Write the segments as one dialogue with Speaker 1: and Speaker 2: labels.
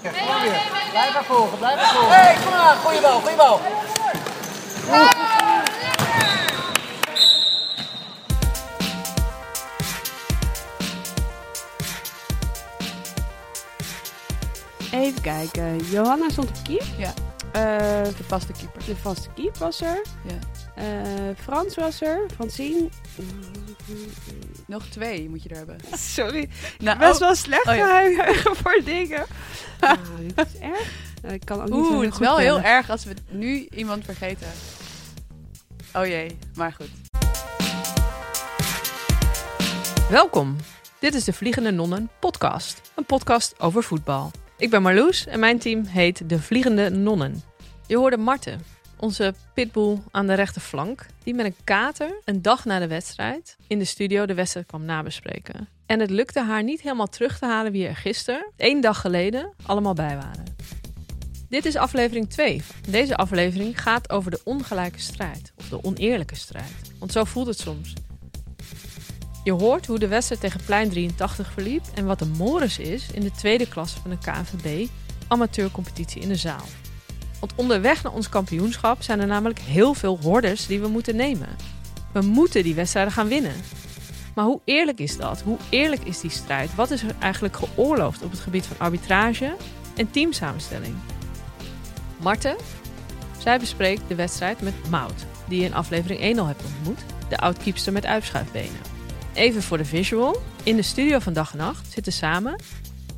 Speaker 1: trekken. Kom weer. Blijf maar volgen, blijf maar volgen. hey, kom maar. Goeie bal, goeie bal.
Speaker 2: Even kijken. Johanna stond op keep.
Speaker 3: Ja.
Speaker 2: Eh,
Speaker 3: De vaste keeper.
Speaker 2: de vaste keep was er.
Speaker 3: Ja.
Speaker 2: Eh, Frans was er. Francine.
Speaker 3: Nog twee moet je er hebben.
Speaker 2: Sorry.
Speaker 3: Nou,
Speaker 2: Best
Speaker 3: oh,
Speaker 2: wel slecht
Speaker 3: oh ja.
Speaker 2: geheugen voor dingen. Ah, dit is erg. Nou, Ik kan ook niet zo
Speaker 3: oh, Oeh,
Speaker 2: heel
Speaker 3: het is
Speaker 2: goed
Speaker 3: wel heel
Speaker 2: tellen.
Speaker 3: erg als we nu iemand vergeten. Oh jee, maar goed.
Speaker 4: Welkom. Dit is de Vliegende Nonnen podcast. Een podcast over voetbal. Ik ben Marloes en mijn team heet de Vliegende Nonnen. Je hoorde Marten, onze pitbull aan de rechterflank, die met een kater een dag na de wedstrijd in de studio de wedstrijd kwam nabespreken. En het lukte haar niet helemaal terug te halen wie er gisteren, één dag geleden, allemaal bij waren. Dit is aflevering 2. Deze aflevering gaat over de ongelijke strijd, of de oneerlijke strijd. Want zo voelt het soms. Je hoort hoe de wedstrijd tegen Plein 83 verliep en wat de Morris is in de tweede klasse van de KNVB amateurcompetitie in de zaal. Want onderweg naar ons kampioenschap zijn er namelijk heel veel hordes die we moeten nemen. We moeten die wedstrijden gaan winnen. Maar hoe eerlijk is dat? Hoe eerlijk is die strijd? Wat is er eigenlijk geoorloofd op het gebied van arbitrage en teamsamenstelling? Marten, zij bespreekt de wedstrijd met Maud, die je in aflevering 1 al hebt ontmoet, de oud-kiepster met uitschuifbenen. Even voor de visual. In de studio van Dag en Nacht zitten samen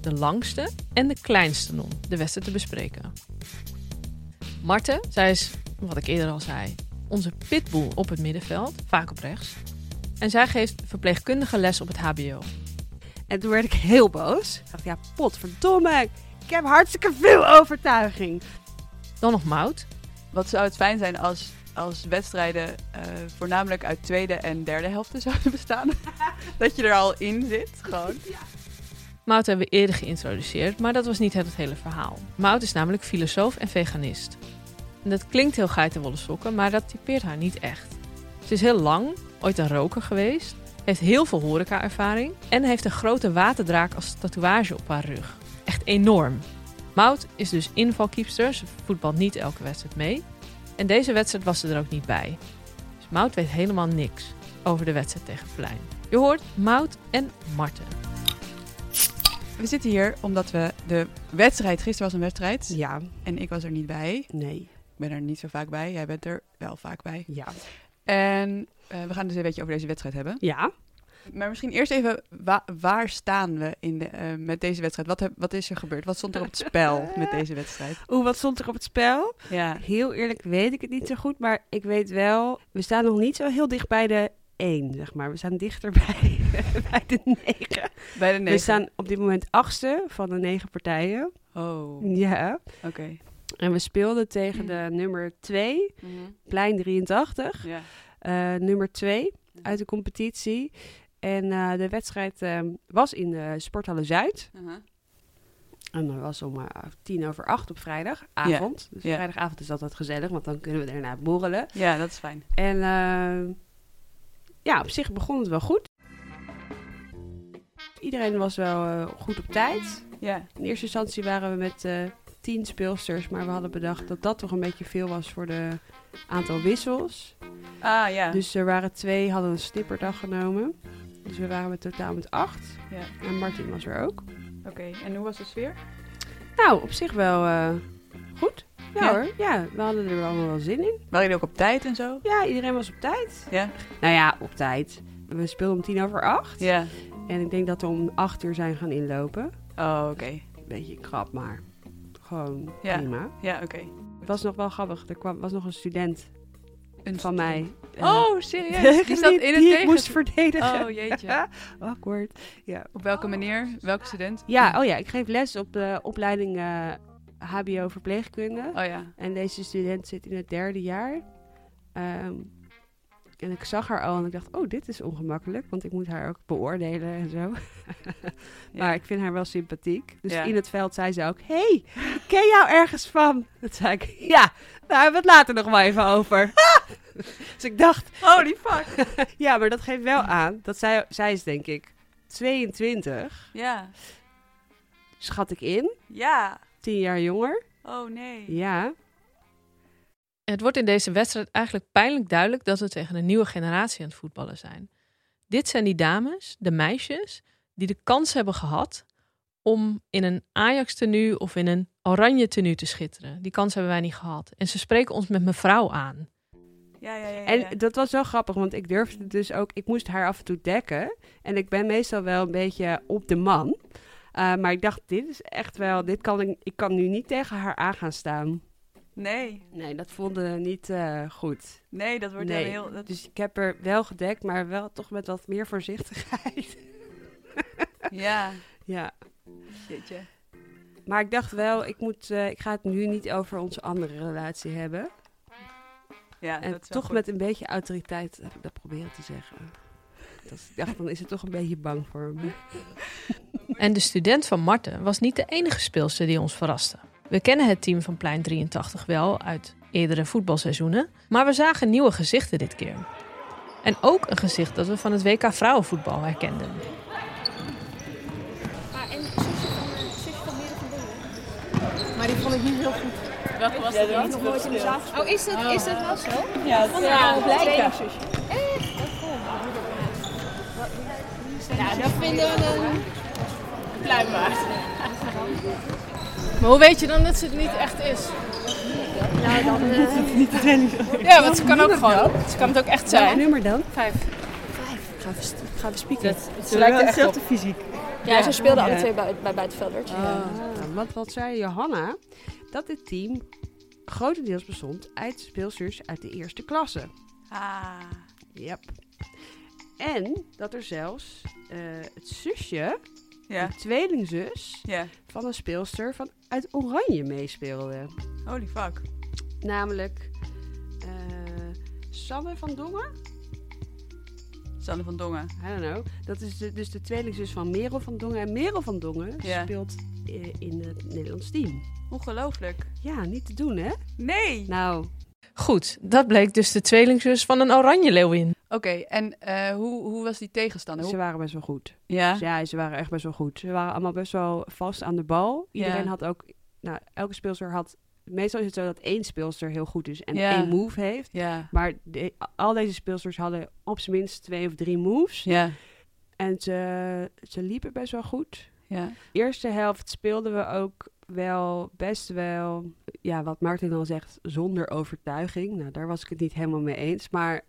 Speaker 4: de langste en de kleinste non de wedstrijd te bespreken. Marten, zij is, wat ik eerder al zei, onze pitbull op het middenveld, vaak op rechts. En zij geeft verpleegkundige les op het HBO.
Speaker 2: En toen werd ik heel boos. Ik dacht, ja, potverdomme. Ik heb hartstikke veel overtuiging.
Speaker 4: Dan nog Mout.
Speaker 3: Wat zou het fijn zijn als, als wedstrijden eh, voornamelijk uit tweede en derde helften zouden bestaan? dat je er al in zit, gewoon.
Speaker 4: Mout hebben we eerder geïntroduceerd, maar dat was niet het hele verhaal. Mout is namelijk filosoof en veganist. En dat klinkt heel geitenwolle sokken, maar dat typeert haar niet echt. Ze is heel lang, ooit een roker geweest, heeft heel veel horeca-ervaring en heeft een grote waterdraak als tatoeage op haar rug. Echt enorm. Mout is dus invalkiepster, ze voetbalt niet elke wedstrijd mee. En deze wedstrijd was ze er ook niet bij. Dus Mout weet helemaal niks over de wedstrijd tegen Plein. Je hoort Mout en Marten.
Speaker 3: We zitten hier omdat we de wedstrijd, gisteren was een wedstrijd
Speaker 2: Ja,
Speaker 3: en ik was er niet bij.
Speaker 2: nee,
Speaker 3: Ik ben er niet zo vaak bij, jij bent er wel vaak bij.
Speaker 2: ja.
Speaker 3: En eh, we gaan dus een beetje over deze wedstrijd hebben.
Speaker 2: Ja,
Speaker 3: Maar misschien eerst even, wa- waar staan we in de, eh, met deze wedstrijd? Wat, heb- wat is er gebeurd? Wat stond er op het spel met deze wedstrijd?
Speaker 2: oeh, wat stond er op het spel?
Speaker 3: Ja,
Speaker 2: Heel eerlijk weet ik het niet zo goed, maar ik weet wel, we staan nog niet zo heel dicht bij de 1, zeg maar. We staan dichter bij, bij de 9.
Speaker 3: bij de negen.
Speaker 2: We staan op dit moment achtste van de negen partijen.
Speaker 3: Oh, oké.
Speaker 2: Ja. En we speelden tegen de nummer 2, Plein 83,
Speaker 3: Ja.
Speaker 2: eh, nummer 2 uit de competitie. En eh, de wedstrijd eh, was in de Sporthalle Zuid. En dat was om eh, tien over acht op vrijdagavond. Dus
Speaker 3: ja.
Speaker 2: vrijdagavond is altijd gezellig, want dan kunnen we daarna borrelen.
Speaker 3: ja, dat is fijn.
Speaker 2: En eh, ja, op zich begon het wel goed. Iedereen was wel eh, goed op tijd.
Speaker 3: Ja.
Speaker 2: In eerste instantie waren we met eh, tien speelsters, maar we hadden bedacht dat dat toch een beetje veel was voor de aantal wissels.
Speaker 3: Ah, ja.
Speaker 2: Dus er waren twee, hadden een snipperdag genomen. Dus we waren met totaal met acht.
Speaker 3: ja.
Speaker 2: En Martin was er ook.
Speaker 3: Oké, en hoe was de sfeer?
Speaker 2: Nou, op zich wel eh, goed. Ja,
Speaker 3: Ja.
Speaker 2: hoor, ja, we hadden er allemaal wel zin in.
Speaker 3: Waren jullie ook op tijd en zo?
Speaker 2: Ja, iedereen was op tijd.
Speaker 3: Ja.
Speaker 2: Nou ja, op tijd. We speelden om tien over acht.
Speaker 3: Ja.
Speaker 2: En ik denk dat we om acht uur zijn gaan inlopen.
Speaker 3: Oh, oké.
Speaker 2: Beetje krap, maar gewoon
Speaker 3: Ja.
Speaker 2: prima.
Speaker 3: Ja, oké.
Speaker 2: Het was nog wel grappig. Er kwam, was nog een student
Speaker 3: Een
Speaker 2: van mij. eh,
Speaker 3: Oh, serieus? Die zat in het
Speaker 2: die ik
Speaker 3: tegen.
Speaker 2: moest verdedigen.
Speaker 3: Oh, jeetje.
Speaker 2: Awkward. Ja.
Speaker 3: Op welke manier? Welke student?
Speaker 2: ja, oh ja. Ik geef les op de opleiding eh, HBO Verpleegkunde.
Speaker 3: Oh ja.
Speaker 2: En deze student zit in het derde jaar. Ehm, en ik zag haar al en ik dacht, oh, dit is ongemakkelijk. Want ik moet haar ook beoordelen en zo. Maar ik vind haar wel sympathiek. Dus
Speaker 3: Ja.
Speaker 2: in het veld zei ze ook: Hey, ik ken jou ergens van? Dat zei ik: Ja, daar hebben we het later nog wel even over. dus ik dacht:
Speaker 3: Holy fuck.
Speaker 2: Ja, maar dat geeft wel aan dat zij, zij is, denk ik, 22,
Speaker 3: Ja.
Speaker 2: schat ik in.
Speaker 3: Ja.
Speaker 2: tien jaar jonger.
Speaker 3: Oh nee.
Speaker 2: Ja,
Speaker 4: Het wordt in deze wedstrijd eigenlijk pijnlijk duidelijk dat we tegen een nieuwe generatie aan het voetballen zijn. Dit zijn die dames, de meisjes, die de kans hebben gehad om in een Ajax tenue of in een oranje tenue te schitteren. Die kans hebben wij niet gehad. En ze spreken ons met mevrouw aan.
Speaker 3: Ja, ja, ja. ja, ja. Mm.
Speaker 2: En dat was wel grappig, want ik durfde dus ook, ik moest haar af en toe dekken. En ik ben meestal wel een beetje op de man. Uh, maar ik dacht, dit is echt wel, dit kan ik, ik kan nu niet tegen haar aan gaan staan.
Speaker 3: Nee,
Speaker 2: Nee, dat voelde niet eh, goed.
Speaker 3: nee, dat wordt
Speaker 2: Nee.
Speaker 3: dan heel... Dat,
Speaker 2: Dus ik heb er wel gedekt, maar wel toch met wat meer voorzichtigheid.
Speaker 3: ja,
Speaker 2: ja,
Speaker 3: jeetje.
Speaker 2: maar ik dacht wel, ik, moet, eh, ik ga het nu niet over onze andere relatie hebben.
Speaker 3: Ja,
Speaker 2: en
Speaker 3: dat is wel
Speaker 2: toch
Speaker 3: goed.
Speaker 2: met een beetje autoriteit heb ik dat proberen te zeggen. Dat, ik dacht, dan is het toch een beetje bang voor me.
Speaker 4: En de student van Marten was niet de enige speelster die ons verraste. We kennen het team van Plein 83 wel uit eerdere voetbalseizoenen, maar we zagen nieuwe gezichten dit keer. En ook een gezicht dat we van het WK vrouwenvoetbal herkenden.
Speaker 5: Oh, is dat, is dat wel zo?
Speaker 6: Maar hoe weet je dan dat ze het niet echt is? Nou, dan... niet Ja, want ze kan ook gewoon. Ze kan het ook echt
Speaker 2: Welk
Speaker 6: zijn.
Speaker 2: nummer dan?
Speaker 6: Vijf.
Speaker 2: Gaan we, st- gaan we spieken?
Speaker 6: Ze lijkt er echt op.
Speaker 5: Ja, ze speelden alle twee bij, bij buitenvelders.
Speaker 2: Ja, Ah, Want wat zei Johanna? Dat dit team grotendeels bestond uit speelsters uit de eerste klasse.
Speaker 3: Ah,
Speaker 2: Yep. En dat er zelfs eh, het zusje,
Speaker 3: ja,
Speaker 2: een tweelingzus,
Speaker 3: ja.
Speaker 2: van een speelster van, uit Oranje meespeelde.
Speaker 3: Holy fuck.
Speaker 2: Namelijk eh Sanne van Dongen.
Speaker 3: Sanne van Dongen.
Speaker 2: I don't know. Dat is de- dus de tweelingzus van Merel van Dongen. En Merel van Dongen
Speaker 3: Ja.
Speaker 2: speelt eh, in het Nederlands team.
Speaker 3: Ongelooflijk.
Speaker 2: Ja, niet te doen hè?
Speaker 3: Nee!
Speaker 2: Nou,
Speaker 4: Goed, dat bleek dus de tweelingzus van een oranje leeuwin.
Speaker 3: Oké, en eh, hoe, hoe was die tegenstander?
Speaker 2: ze
Speaker 3: Hoe...
Speaker 2: waren best wel goed.
Speaker 3: Ja.
Speaker 2: Ja, ze waren echt best wel goed. Ze waren allemaal best wel vast aan de bal. Iedereen
Speaker 3: Ja.
Speaker 2: had ook... Nou, elke speelster had... Meestal is het zo dat één speelster heel goed is en
Speaker 3: Ja.
Speaker 2: één move heeft.
Speaker 3: Ja.
Speaker 2: Maar de- al deze speelsters hadden op zijn minst twee of drie moves.
Speaker 3: Ja.
Speaker 2: En ze, ze liepen best wel goed.
Speaker 3: Ja.
Speaker 2: Eerste helft speelden we ook wel best wel... Ja, wat Martin al zegt, zonder overtuiging. Nou, daar was ik het niet helemaal mee eens. Maar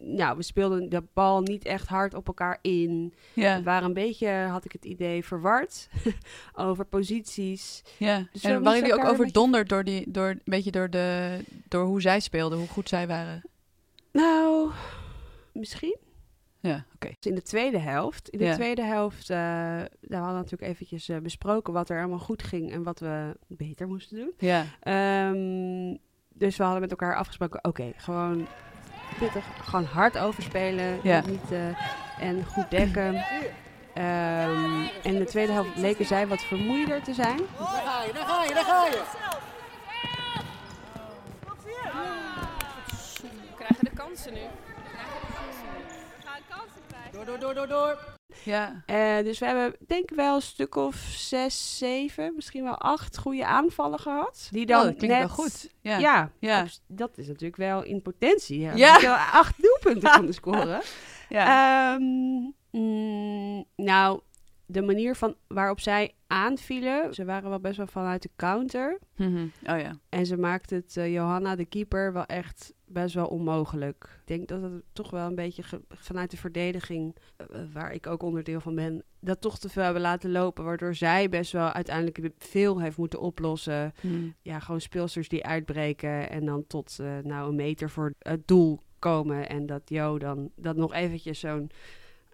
Speaker 2: nou, we speelden de bal niet echt hard op elkaar in.
Speaker 3: Ja.
Speaker 2: We waren een beetje, had ik het idee, verward over posities.
Speaker 3: ja.
Speaker 2: Dus
Speaker 3: en
Speaker 2: we
Speaker 3: waren
Speaker 2: moesten
Speaker 3: jullie ook
Speaker 2: elkaar een
Speaker 3: overdonderd door die, door, een beetje door, de, door hoe zij speelden, hoe goed zij waren?
Speaker 2: Nou, misschien.
Speaker 3: Ja, oké.
Speaker 2: Dus in de tweede helft. In de
Speaker 3: Ja.
Speaker 2: tweede helft, eh daar hadden we natuurlijk eventjes eh, besproken wat er allemaal goed ging en wat we beter moesten doen.
Speaker 3: Ja.
Speaker 2: Ehm, dus we hadden met elkaar afgesproken, oké, gewoon pittig, gewoon hard overspelen.
Speaker 3: Ja.
Speaker 2: Niet, eh, en goed dekken. Ehm, en in de tweede helft leken zij wat vermoeider te zijn.
Speaker 1: Daar ga je, daar ga je, daar ga je.
Speaker 6: We krijgen de kansen nu.
Speaker 1: Door, door, door, door, door.
Speaker 3: Ja.
Speaker 2: Eh, dus we hebben denk ik wel een stuk of zes, zeven, misschien wel acht goede aanvallen gehad. Die
Speaker 3: Oh,
Speaker 2: dan
Speaker 3: dat klinkt
Speaker 2: net...
Speaker 3: wel goed. Ja.
Speaker 2: Ja,
Speaker 3: Ja. Ja.
Speaker 2: op- dat is natuurlijk wel in potentie. Ja.
Speaker 3: Ja.
Speaker 2: Dat je wel acht doelpunten kunnen scoren.
Speaker 3: Ja.
Speaker 2: Ehm, mm, nou, de manier van waarop zij aanvielen, ze waren wel best wel vanuit de counter.
Speaker 3: Mhm. Oh ja.
Speaker 2: En ze maakte het eh, Johanna, de keeper, wel echt best wel onmogelijk. Ik denk dat het toch wel een beetje ge- vanuit de verdediging, eh, waar ik ook onderdeel van ben, dat toch te veel hebben laten lopen. Waardoor zij best wel uiteindelijk veel heeft moeten oplossen.
Speaker 3: Mhm.
Speaker 2: Ja, gewoon speelsters die uitbreken en dan tot eh, nou een meter voor het doel komen. En dat Jo dan dat nog eventjes zo'n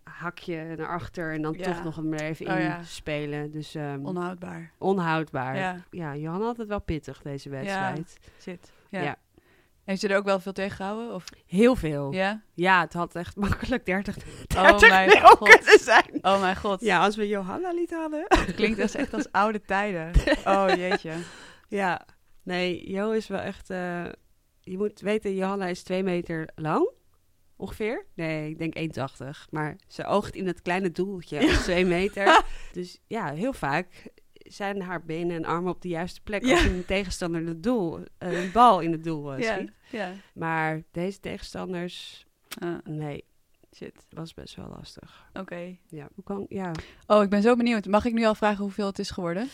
Speaker 2: hakje naar achter en dan
Speaker 3: Ja.
Speaker 2: toch nog hem er even
Speaker 3: Oh
Speaker 2: in
Speaker 3: ja.
Speaker 2: spelen. Dus ehm,
Speaker 3: Onhoudbaar.
Speaker 2: onhoudbaar. Ja.
Speaker 3: Ja.
Speaker 2: Johanna had het wel pittig deze wedstrijd.
Speaker 3: Zit. Ja.
Speaker 2: Ja. Oh.
Speaker 3: Heeft ze er ook wel veel tegengehouden? Of?
Speaker 2: Heel veel. Ja.
Speaker 3: Ja.
Speaker 2: het had echt makkelijk 30, 30
Speaker 3: Oh mijn
Speaker 2: nul
Speaker 3: god.
Speaker 2: kunnen zijn.
Speaker 3: Oh mijn god.
Speaker 2: Ja, als we Johanna niet hadden.
Speaker 3: Klinkt als echt als oude tijden. Oh jeetje.
Speaker 2: Ja. Nee, Jo is wel echt... eh, je moet weten, Johanna is twee meter lang. Ongeveer. Nee, ik denk 1,80. Maar ze oogt in het kleine doeltje op twee meter. Dus ja, heel vaak zijn haar benen en armen op de juiste plek
Speaker 3: Ja.
Speaker 2: als een tegenstander het doel, eh, een bal in het doel eh,
Speaker 3: Ja,
Speaker 2: schiet.
Speaker 3: ja.
Speaker 2: Maar deze tegenstanders,
Speaker 3: Ah,
Speaker 2: nee,
Speaker 3: shit.
Speaker 2: was best wel lastig.
Speaker 3: Oké.
Speaker 2: Ja, hoe kan, ja,
Speaker 3: Oh, ik ben zo benieuwd. Mag ik nu al vragen hoeveel het is geworden?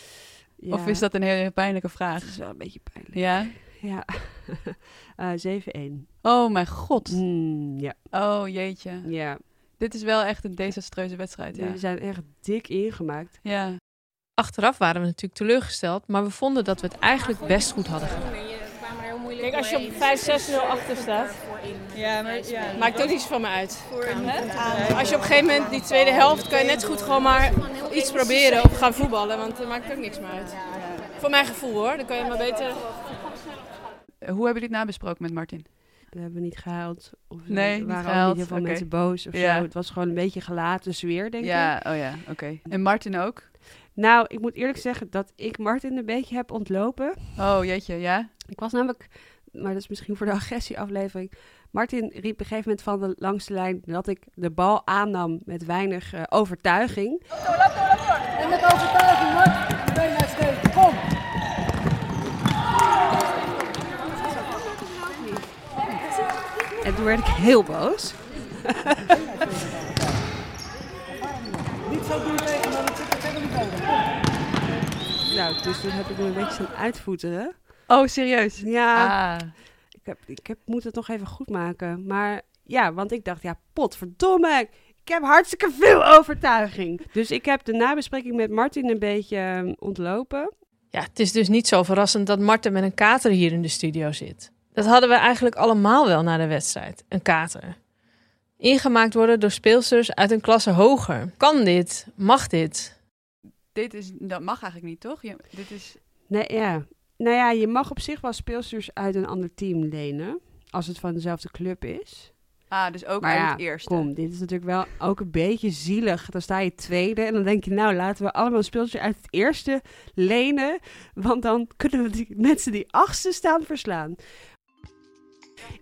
Speaker 2: ja,
Speaker 3: Of is dat een hele pijnlijke vraag?
Speaker 2: het is wel een beetje pijnlijk.
Speaker 3: Ja.
Speaker 2: Ja, Eh 7-1.
Speaker 3: Oh mijn god.
Speaker 2: Mm, ja,
Speaker 3: Oh jeetje.
Speaker 2: ja.
Speaker 3: Dit is wel echt een desastreuze wedstrijd. Ja.
Speaker 2: we zijn echt dik ingemaakt.
Speaker 3: ja.
Speaker 4: Achteraf waren we natuurlijk teleurgesteld, maar we vonden dat we het eigenlijk best goed hadden gedaan.
Speaker 6: Kijk, als je op 5-6-0 achter staat, maakt ook niets van me uit. Hè? Als je op een gegeven moment die tweede helft, kan je net zo goed gewoon maar iets proberen of gaan voetballen, want dat maakt ook niks meer uit. Voor mijn gevoel hoor, dan kan je maar beter...
Speaker 3: Hoe hebben jullie het nabesproken met Martin?
Speaker 2: We hebben niet gehuild. Of zo.
Speaker 3: Nee,
Speaker 2: er
Speaker 3: niet
Speaker 2: waren ook
Speaker 3: gehuild,
Speaker 2: niet heel veel
Speaker 3: oké.
Speaker 2: mensen boos of
Speaker 3: Ja.
Speaker 2: zo. Het was gewoon een beetje een gelaten sfeer, denk ik.
Speaker 3: Ja, oh ja, oké. En Martin ook?
Speaker 2: Nou, ik moet eerlijk zeggen dat ik Martin een beetje heb ontlopen.
Speaker 3: Oh jeetje, ja.
Speaker 2: Ik was namelijk, maar dat is misschien voor de agressieaflevering. Martin riep op een gegeven moment van de langste lijn dat ik de bal aannam met weinig eh, overtuiging.
Speaker 1: En met overtuiging, hoor. Twee naar steek. Kom.
Speaker 2: En toen werd ik heel boos.
Speaker 1: Niet zo doen tegen, maar het zit er tegen niet over. Kom.
Speaker 2: Nou, dus toen heb ik me een beetje staan uitvoeteren.
Speaker 3: Oh, serieus?
Speaker 2: Ja,
Speaker 3: Ah.
Speaker 2: ik, heb, ik heb, moet het nog even goed maken. Maar ja, want ik dacht, ja, potverdomme. Ik heb hartstikke veel overtuiging. Dus ik heb de nabespreking met Martin een beetje eh, ontlopen.
Speaker 4: Ja, het is dus niet zo verrassend dat Marten met een kater hier in de studio zit. Dat hadden we eigenlijk allemaal wel na de wedstrijd, een kater. Ingemaakt worden door speelsters uit een klasse hoger. Kan dit? Mag dit?
Speaker 3: Dit is, dat mag eigenlijk niet, toch? Je- dit is,
Speaker 2: Nee, ja. Nou ja, je mag op zich wel speelsters uit een ander team lenen. Als het van dezelfde club is.
Speaker 3: ah, dus ook
Speaker 2: Maar
Speaker 3: uit
Speaker 2: ja,
Speaker 3: het eerste.
Speaker 2: Kom, dit is natuurlijk wel ook een beetje zielig. Dan sta je tweede en dan denk je, nou laten we allemaal speelsters uit het eerste lenen. Want dan kunnen we die mensen die achtste staan verslaan.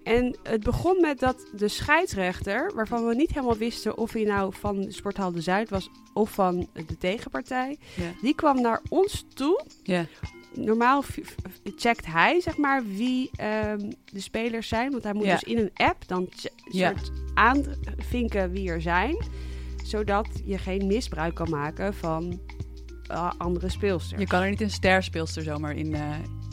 Speaker 2: En het begon met dat de scheidsrechter, waarvan we niet helemaal wisten of hij nou van Sporthal de Zuid was of van de tegenpartij,
Speaker 3: Ja.
Speaker 2: die kwam naar ons toe
Speaker 3: Ja.
Speaker 2: normaal v- v- checkt hij zeg maar wie ehm, de spelers zijn, want hij moet
Speaker 3: Ja.
Speaker 2: dus in een app dan che-
Speaker 3: Ja.
Speaker 2: soort aanvinken wie er zijn, zodat je geen misbruik kan maken van eh, andere speelsters.
Speaker 3: Je kan er niet een sterspeelster zomaar in, eh,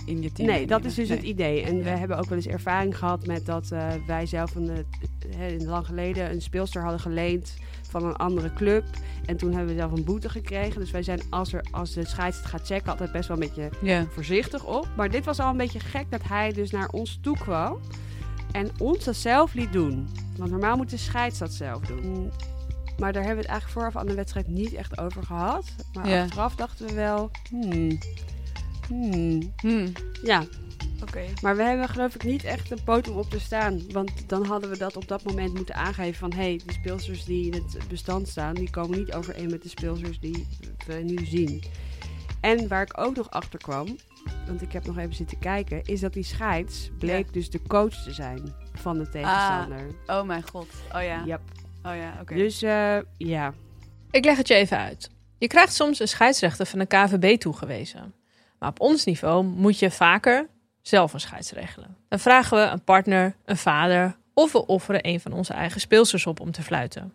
Speaker 3: in je team
Speaker 2: Nee, dat
Speaker 3: meenemen.
Speaker 2: is dus
Speaker 3: Nee.
Speaker 2: het idee. En we
Speaker 3: Ja.
Speaker 2: hebben ook wel eens ervaring gehad met dat eh, wij zelf een, eh, hè, lang geleden een speelster hadden geleend van een andere club. En toen hebben we zelf een boete gekregen. Dus wij zijn als, er, als de scheids het gaat checken altijd best wel een beetje
Speaker 3: Ja.
Speaker 2: voorzichtig op. Maar dit was al een beetje gek dat hij dus naar ons toe kwam en ons dat zelf liet doen. Want normaal moet de scheids dat zelf doen. Maar daar hebben we het eigenlijk vooraf aan de wedstrijd niet echt over gehad. Maar
Speaker 3: Ja.
Speaker 2: achteraf dachten we wel, hmm, hmm.
Speaker 3: Hmm,
Speaker 2: Ja,
Speaker 3: Oké.
Speaker 2: maar we hebben geloof ik niet echt een poot om op te staan. Want dan hadden we dat op dat moment moeten aangeven van... hé, hey, de speelsters die in het bestand staan... die komen niet overeen met de speelsters die we nu zien. En waar ik ook nog achter kwam... want ik heb nog even zitten kijken... is dat die scheids bleek dus de coach te zijn van de tegenstander.
Speaker 3: Oh mijn god. Oh ja.
Speaker 2: Yep.
Speaker 3: Oh ja, oké.
Speaker 2: Dus eh, ja,
Speaker 4: Ik leg het je even uit. Je krijgt soms een scheidsrechter van de KVB toegewezen. Maar op ons niveau moet je vaker zelf een scheids regelen. Dan vragen we een partner, een vader of we offeren een van onze eigen speelsters op om te fluiten.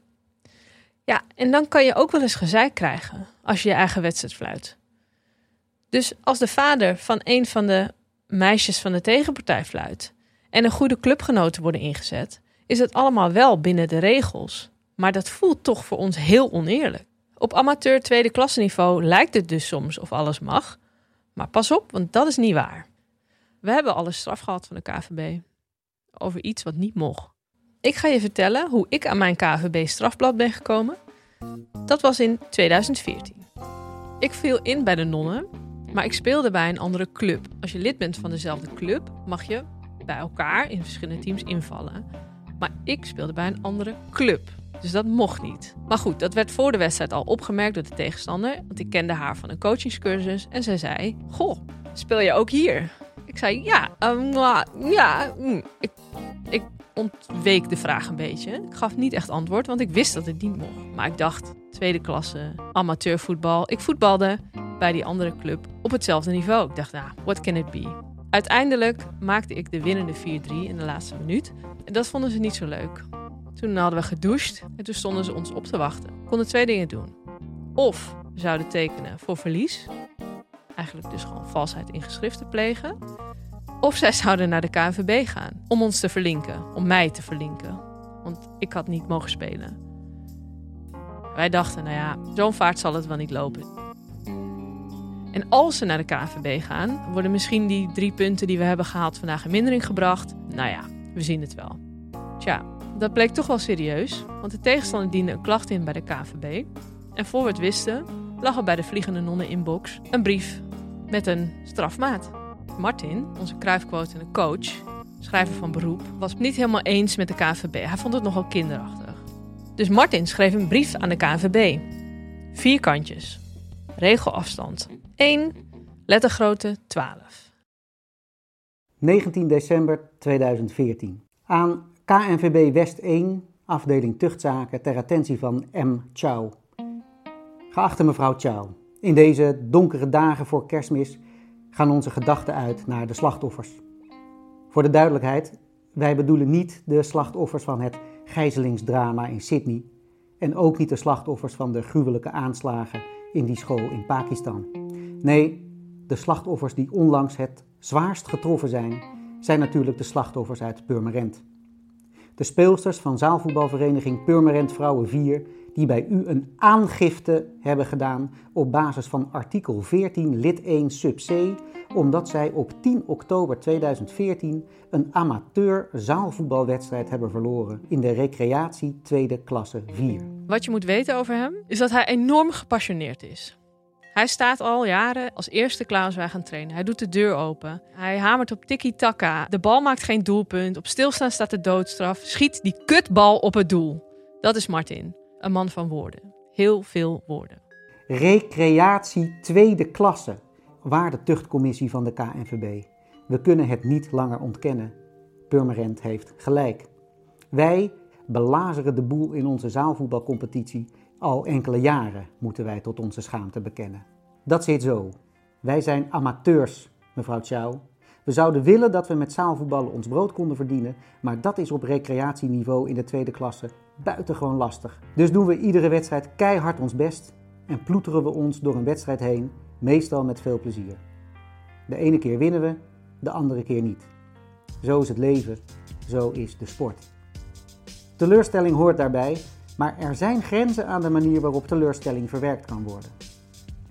Speaker 4: Ja, en dan kan je ook wel eens gezeik krijgen als je je eigen wedstrijd fluit. Dus als de vader van een van de meisjes van de tegenpartij fluit en een goede clubgenoten worden ingezet, is het allemaal wel binnen de regels. Maar dat voelt toch voor ons heel oneerlijk. Op amateur tweede klasse niveau lijkt het dus soms of alles mag. Maar pas op, want dat is niet waar. We hebben al eens straf gehad van de KVB over iets wat niet mocht. Ik ga je vertellen hoe ik aan mijn KVB strafblad ben gekomen. Dat was in 2014. Ik viel in bij de nonnen, maar ik speelde bij een andere club. Als je lid bent van dezelfde club, mag je bij elkaar in verschillende teams invallen. Maar ik speelde bij een andere club. Dus dat mocht niet. Maar goed, dat werd voor de wedstrijd al opgemerkt door de tegenstander. Want ik kende haar van een coachingscursus. En zij zei: Goh, speel je ook hier? Ik zei: Ja, ehm, mwah, ja. mm." Ik, ik ontweek de vraag een beetje. Ik gaf niet echt antwoord, want ik wist dat het niet mocht. Maar ik dacht: tweede klasse, amateurvoetbal. Ik voetbalde. bij die andere club op hetzelfde niveau. Ik dacht, nou, what can it be? Uiteindelijk maakte ik de winnende 4-3 in de laatste minuut. En dat vonden ze niet zo leuk. Toen hadden we gedoucht en toen stonden ze ons op te wachten. We konden twee dingen doen. Of we zouden tekenen voor verlies. Eigenlijk dus gewoon valsheid in geschriften plegen. Of zij zouden naar de KNVB gaan om ons te verlinken. Om mij te verlinken. Want ik had niet mogen spelen. Wij dachten, nou ja, zo'n vaart zal het wel niet lopen. En als ze naar de KNVB gaan, worden misschien die drie punten die we hebben gehaald vandaag in mindering gebracht. Nou ja, we zien het wel. Tja, dat bleek toch wel serieus, want de tegenstander diende een klacht in bij de KNVB. En voor we het wisten, lag er bij de Vliegende Nonnen inbox een brief met een strafmaat. Martin, onze kruifquotende coach, schrijver van beroep, was het niet helemaal eens met de KNVB. Hij vond het nogal kinderachtig. Dus Martin schreef een brief aan de KNVB. Vier kantjes. Regelafstand 1, lettergrootte 12.
Speaker 7: 19 december 2014. Aan KNVB West 1, afdeling tuchtzaken, ter attentie van M. Chow. Geachte mevrouw Chow, in deze donkere dagen voor kerstmis gaan onze gedachten uit naar de slachtoffers. Voor de duidelijkheid, wij bedoelen niet de slachtoffers van het gijzelingsdrama in Sydney en ook niet de slachtoffers van de gruwelijke aanslagen in die school in Pakistan. Nee, de slachtoffers die onlangs het zwaarst getroffen zijn, zijn natuurlijk de slachtoffers uit Purmerend. De speelsters van zaalvoetbalvereniging Purmerend Vrouwen 4, die bij u een aangifte hebben gedaan op basis van artikel 14 lid 1 sub C, omdat zij op 10 oktober 2014 een amateur zaalvoetbalwedstrijd hebben verloren in de recreatie tweede klasse 4.
Speaker 4: Wat je moet weten over hem is dat hij enorm gepassioneerd is. Hij staat al jaren als eerste klaar als wij gaan trainen. Hij doet de deur open. Hij hamert op tiki-taka. De bal maakt geen doelpunt. Op stilstaan staat de doodstraf. Schiet die kutbal op het doel. Dat is Martin. Een man van woorden. Heel veel woorden.
Speaker 7: Recreatie tweede klasse, waarde tuchtcommissie van de KNVB. We kunnen het niet langer ontkennen. Purmerend heeft gelijk. Wij belazeren de boel in onze zaalvoetbalcompetitie al enkele jaren, moeten wij tot onze schaamte bekennen. Dat zit zo. Wij zijn amateurs, mevrouw Chow. We zouden willen dat we met zaalvoetballen ons brood konden verdienen, maar dat is op recreatieniveau in de tweede klasse buitengewoon lastig. Dus doen we iedere wedstrijd keihard ons best en ploeteren we ons door een wedstrijd heen, meestal met veel plezier. De ene keer winnen we, de andere keer niet. Zo is het leven, zo is de sport. Teleurstelling hoort daarbij, maar er zijn grenzen aan de manier waarop teleurstelling verwerkt kan worden.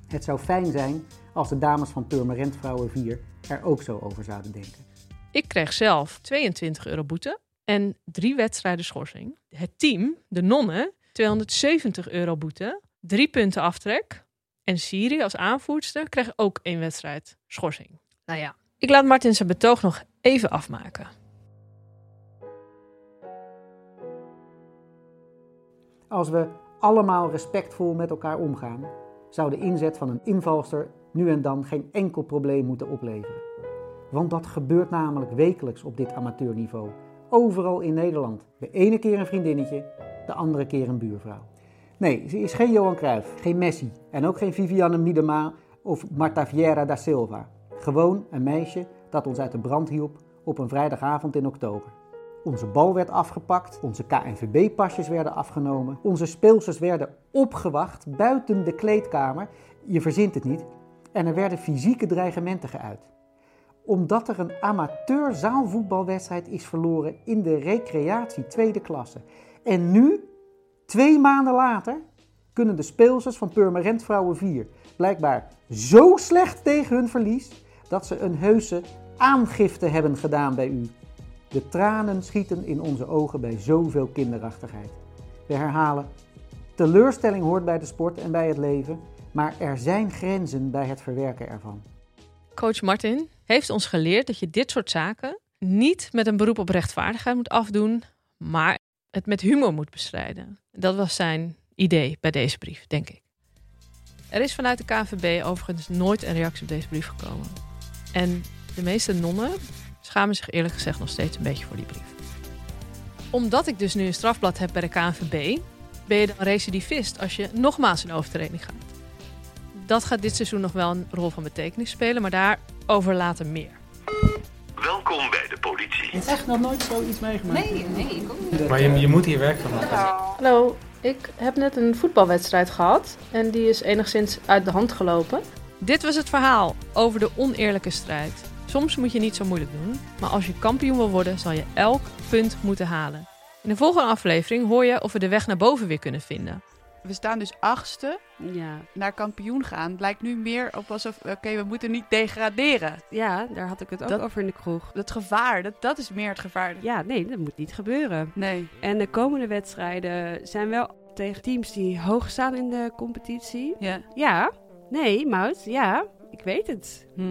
Speaker 7: Het zou fijn zijn als de dames van Purmerend Vrouwen 4 er ook zo over zouden denken.
Speaker 4: Ik kreeg zelf 22 euro boete en drie wedstrijden schorsing. Het team, de nonnen, 270 euro boete, drie punten aftrek. En Siri als aanvoerster kreeg ook één wedstrijd schorsing. Nou ja, ik laat Martin zijn betoog nog even afmaken.
Speaker 7: Als we allemaal respectvol met elkaar omgaan, zou de inzet van een invalster nu en dan geen enkel probleem moeten opleveren. Want dat gebeurt namelijk wekelijks op dit amateurniveau, overal in Nederland. De ene keer een vriendinnetje, de andere keer een buurvrouw. Nee, ze is geen Johan Cruijff, geen Messi en ook geen Viviane Miedema of Marta Vieira da Silva. Gewoon een meisje dat ons uit de brand hielp op een vrijdagavond in oktober. Onze bal werd afgepakt, onze KNVB-pasjes werden afgenomen, onze speelsters werden opgewacht buiten de kleedkamer. Je verzint het niet. En er werden fysieke dreigementen geuit. Omdat er een amateur zaalvoetbalwedstrijd is verloren in de recreatie tweede klasse. En nu, twee maanden later, kunnen de speelsters van Purmerend Vrouwen 4 blijkbaar zo slecht tegen hun verlies dat ze een heuse aangifte hebben gedaan bij u. De tranen schieten in onze ogen bij zoveel kinderachtigheid. We herhalen: teleurstelling hoort bij de sport en bij het leven, maar er zijn grenzen bij het verwerken ervan.
Speaker 4: Coach Martin heeft ons geleerd dat je dit soort zaken niet met een beroep op rechtvaardigheid moet afdoen, maar het met humor moet bestrijden. Dat was zijn idee bij deze brief, denk ik. Er is vanuit de KVB overigens nooit een reactie op deze brief gekomen. En de meeste nonnen schamen zich eerlijk gezegd nog steeds een beetje voor die brief. Omdat ik dus nu een strafblad heb bij de KNVB, ben je dan recidivist als je nogmaals een overtreding gaat. Dat gaat dit seizoen nog wel een rol van betekenis spelen, maar daarover later meer.
Speaker 8: Welkom bij de politie.
Speaker 1: Ik heb echt nog nooit zoiets meegemaakt. Nee, nee, ik ook niet.
Speaker 9: Maar je, je moet hier werk van maken.
Speaker 10: Hallo, ik heb net een voetbalwedstrijd gehad en die is enigszins uit de hand gelopen.
Speaker 4: Dit was het verhaal over de oneerlijke strijd. Soms moet je niet zo moeilijk doen, maar als je kampioen wil worden, zal je elk punt moeten halen. In de volgende aflevering hoor je of we de weg naar boven weer kunnen vinden.
Speaker 3: We staan dus achtste.
Speaker 2: Ja.
Speaker 3: Naar kampioen gaan Het lijkt nu meer op alsof, oké, we moeten niet degraderen.
Speaker 2: ja, daar had ik het ook
Speaker 3: Dat-
Speaker 2: over in de kroeg.
Speaker 3: Dat gevaar, dat, dat is meer het gevaar.
Speaker 2: Ja, nee, dat moet niet gebeuren.
Speaker 3: Nee.
Speaker 2: En de komende wedstrijden zijn wel tegen teams die hoog staan in de competitie.
Speaker 3: Ja.
Speaker 2: Ja, nee, Mout, ja, ik weet het. Hm.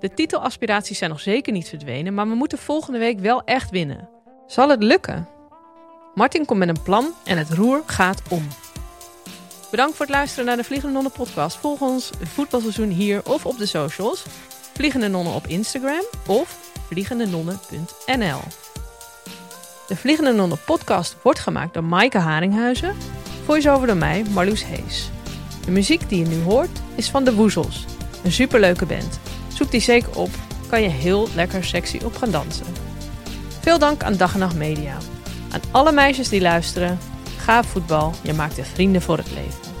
Speaker 4: De titelaspiraties zijn nog zeker niet verdwenen, maar we moeten volgende week wel echt winnen. Zal het lukken? Martin komt met een plan en het roer gaat om. Bedankt voor het luisteren naar de Vliegende Nonnen podcast. Volg ons voetbalseizoen hier of op de socials. Vliegende Nonnen op Instagram of vliegendenonnen.nl De Vliegende Nonnen podcast wordt gemaakt door Maaike Haringhuizen. Voice-over door mij, Marloes Hees. De muziek die je nu hoort is van De Woezels. Een superleuke band. Zoek die zeker op, kan je heel lekker sexy op gaan dansen. Veel dank aan Dag en Nacht Media. Aan alle meisjes die luisteren, gaaf voetbal, je maakt er vrienden voor het leven.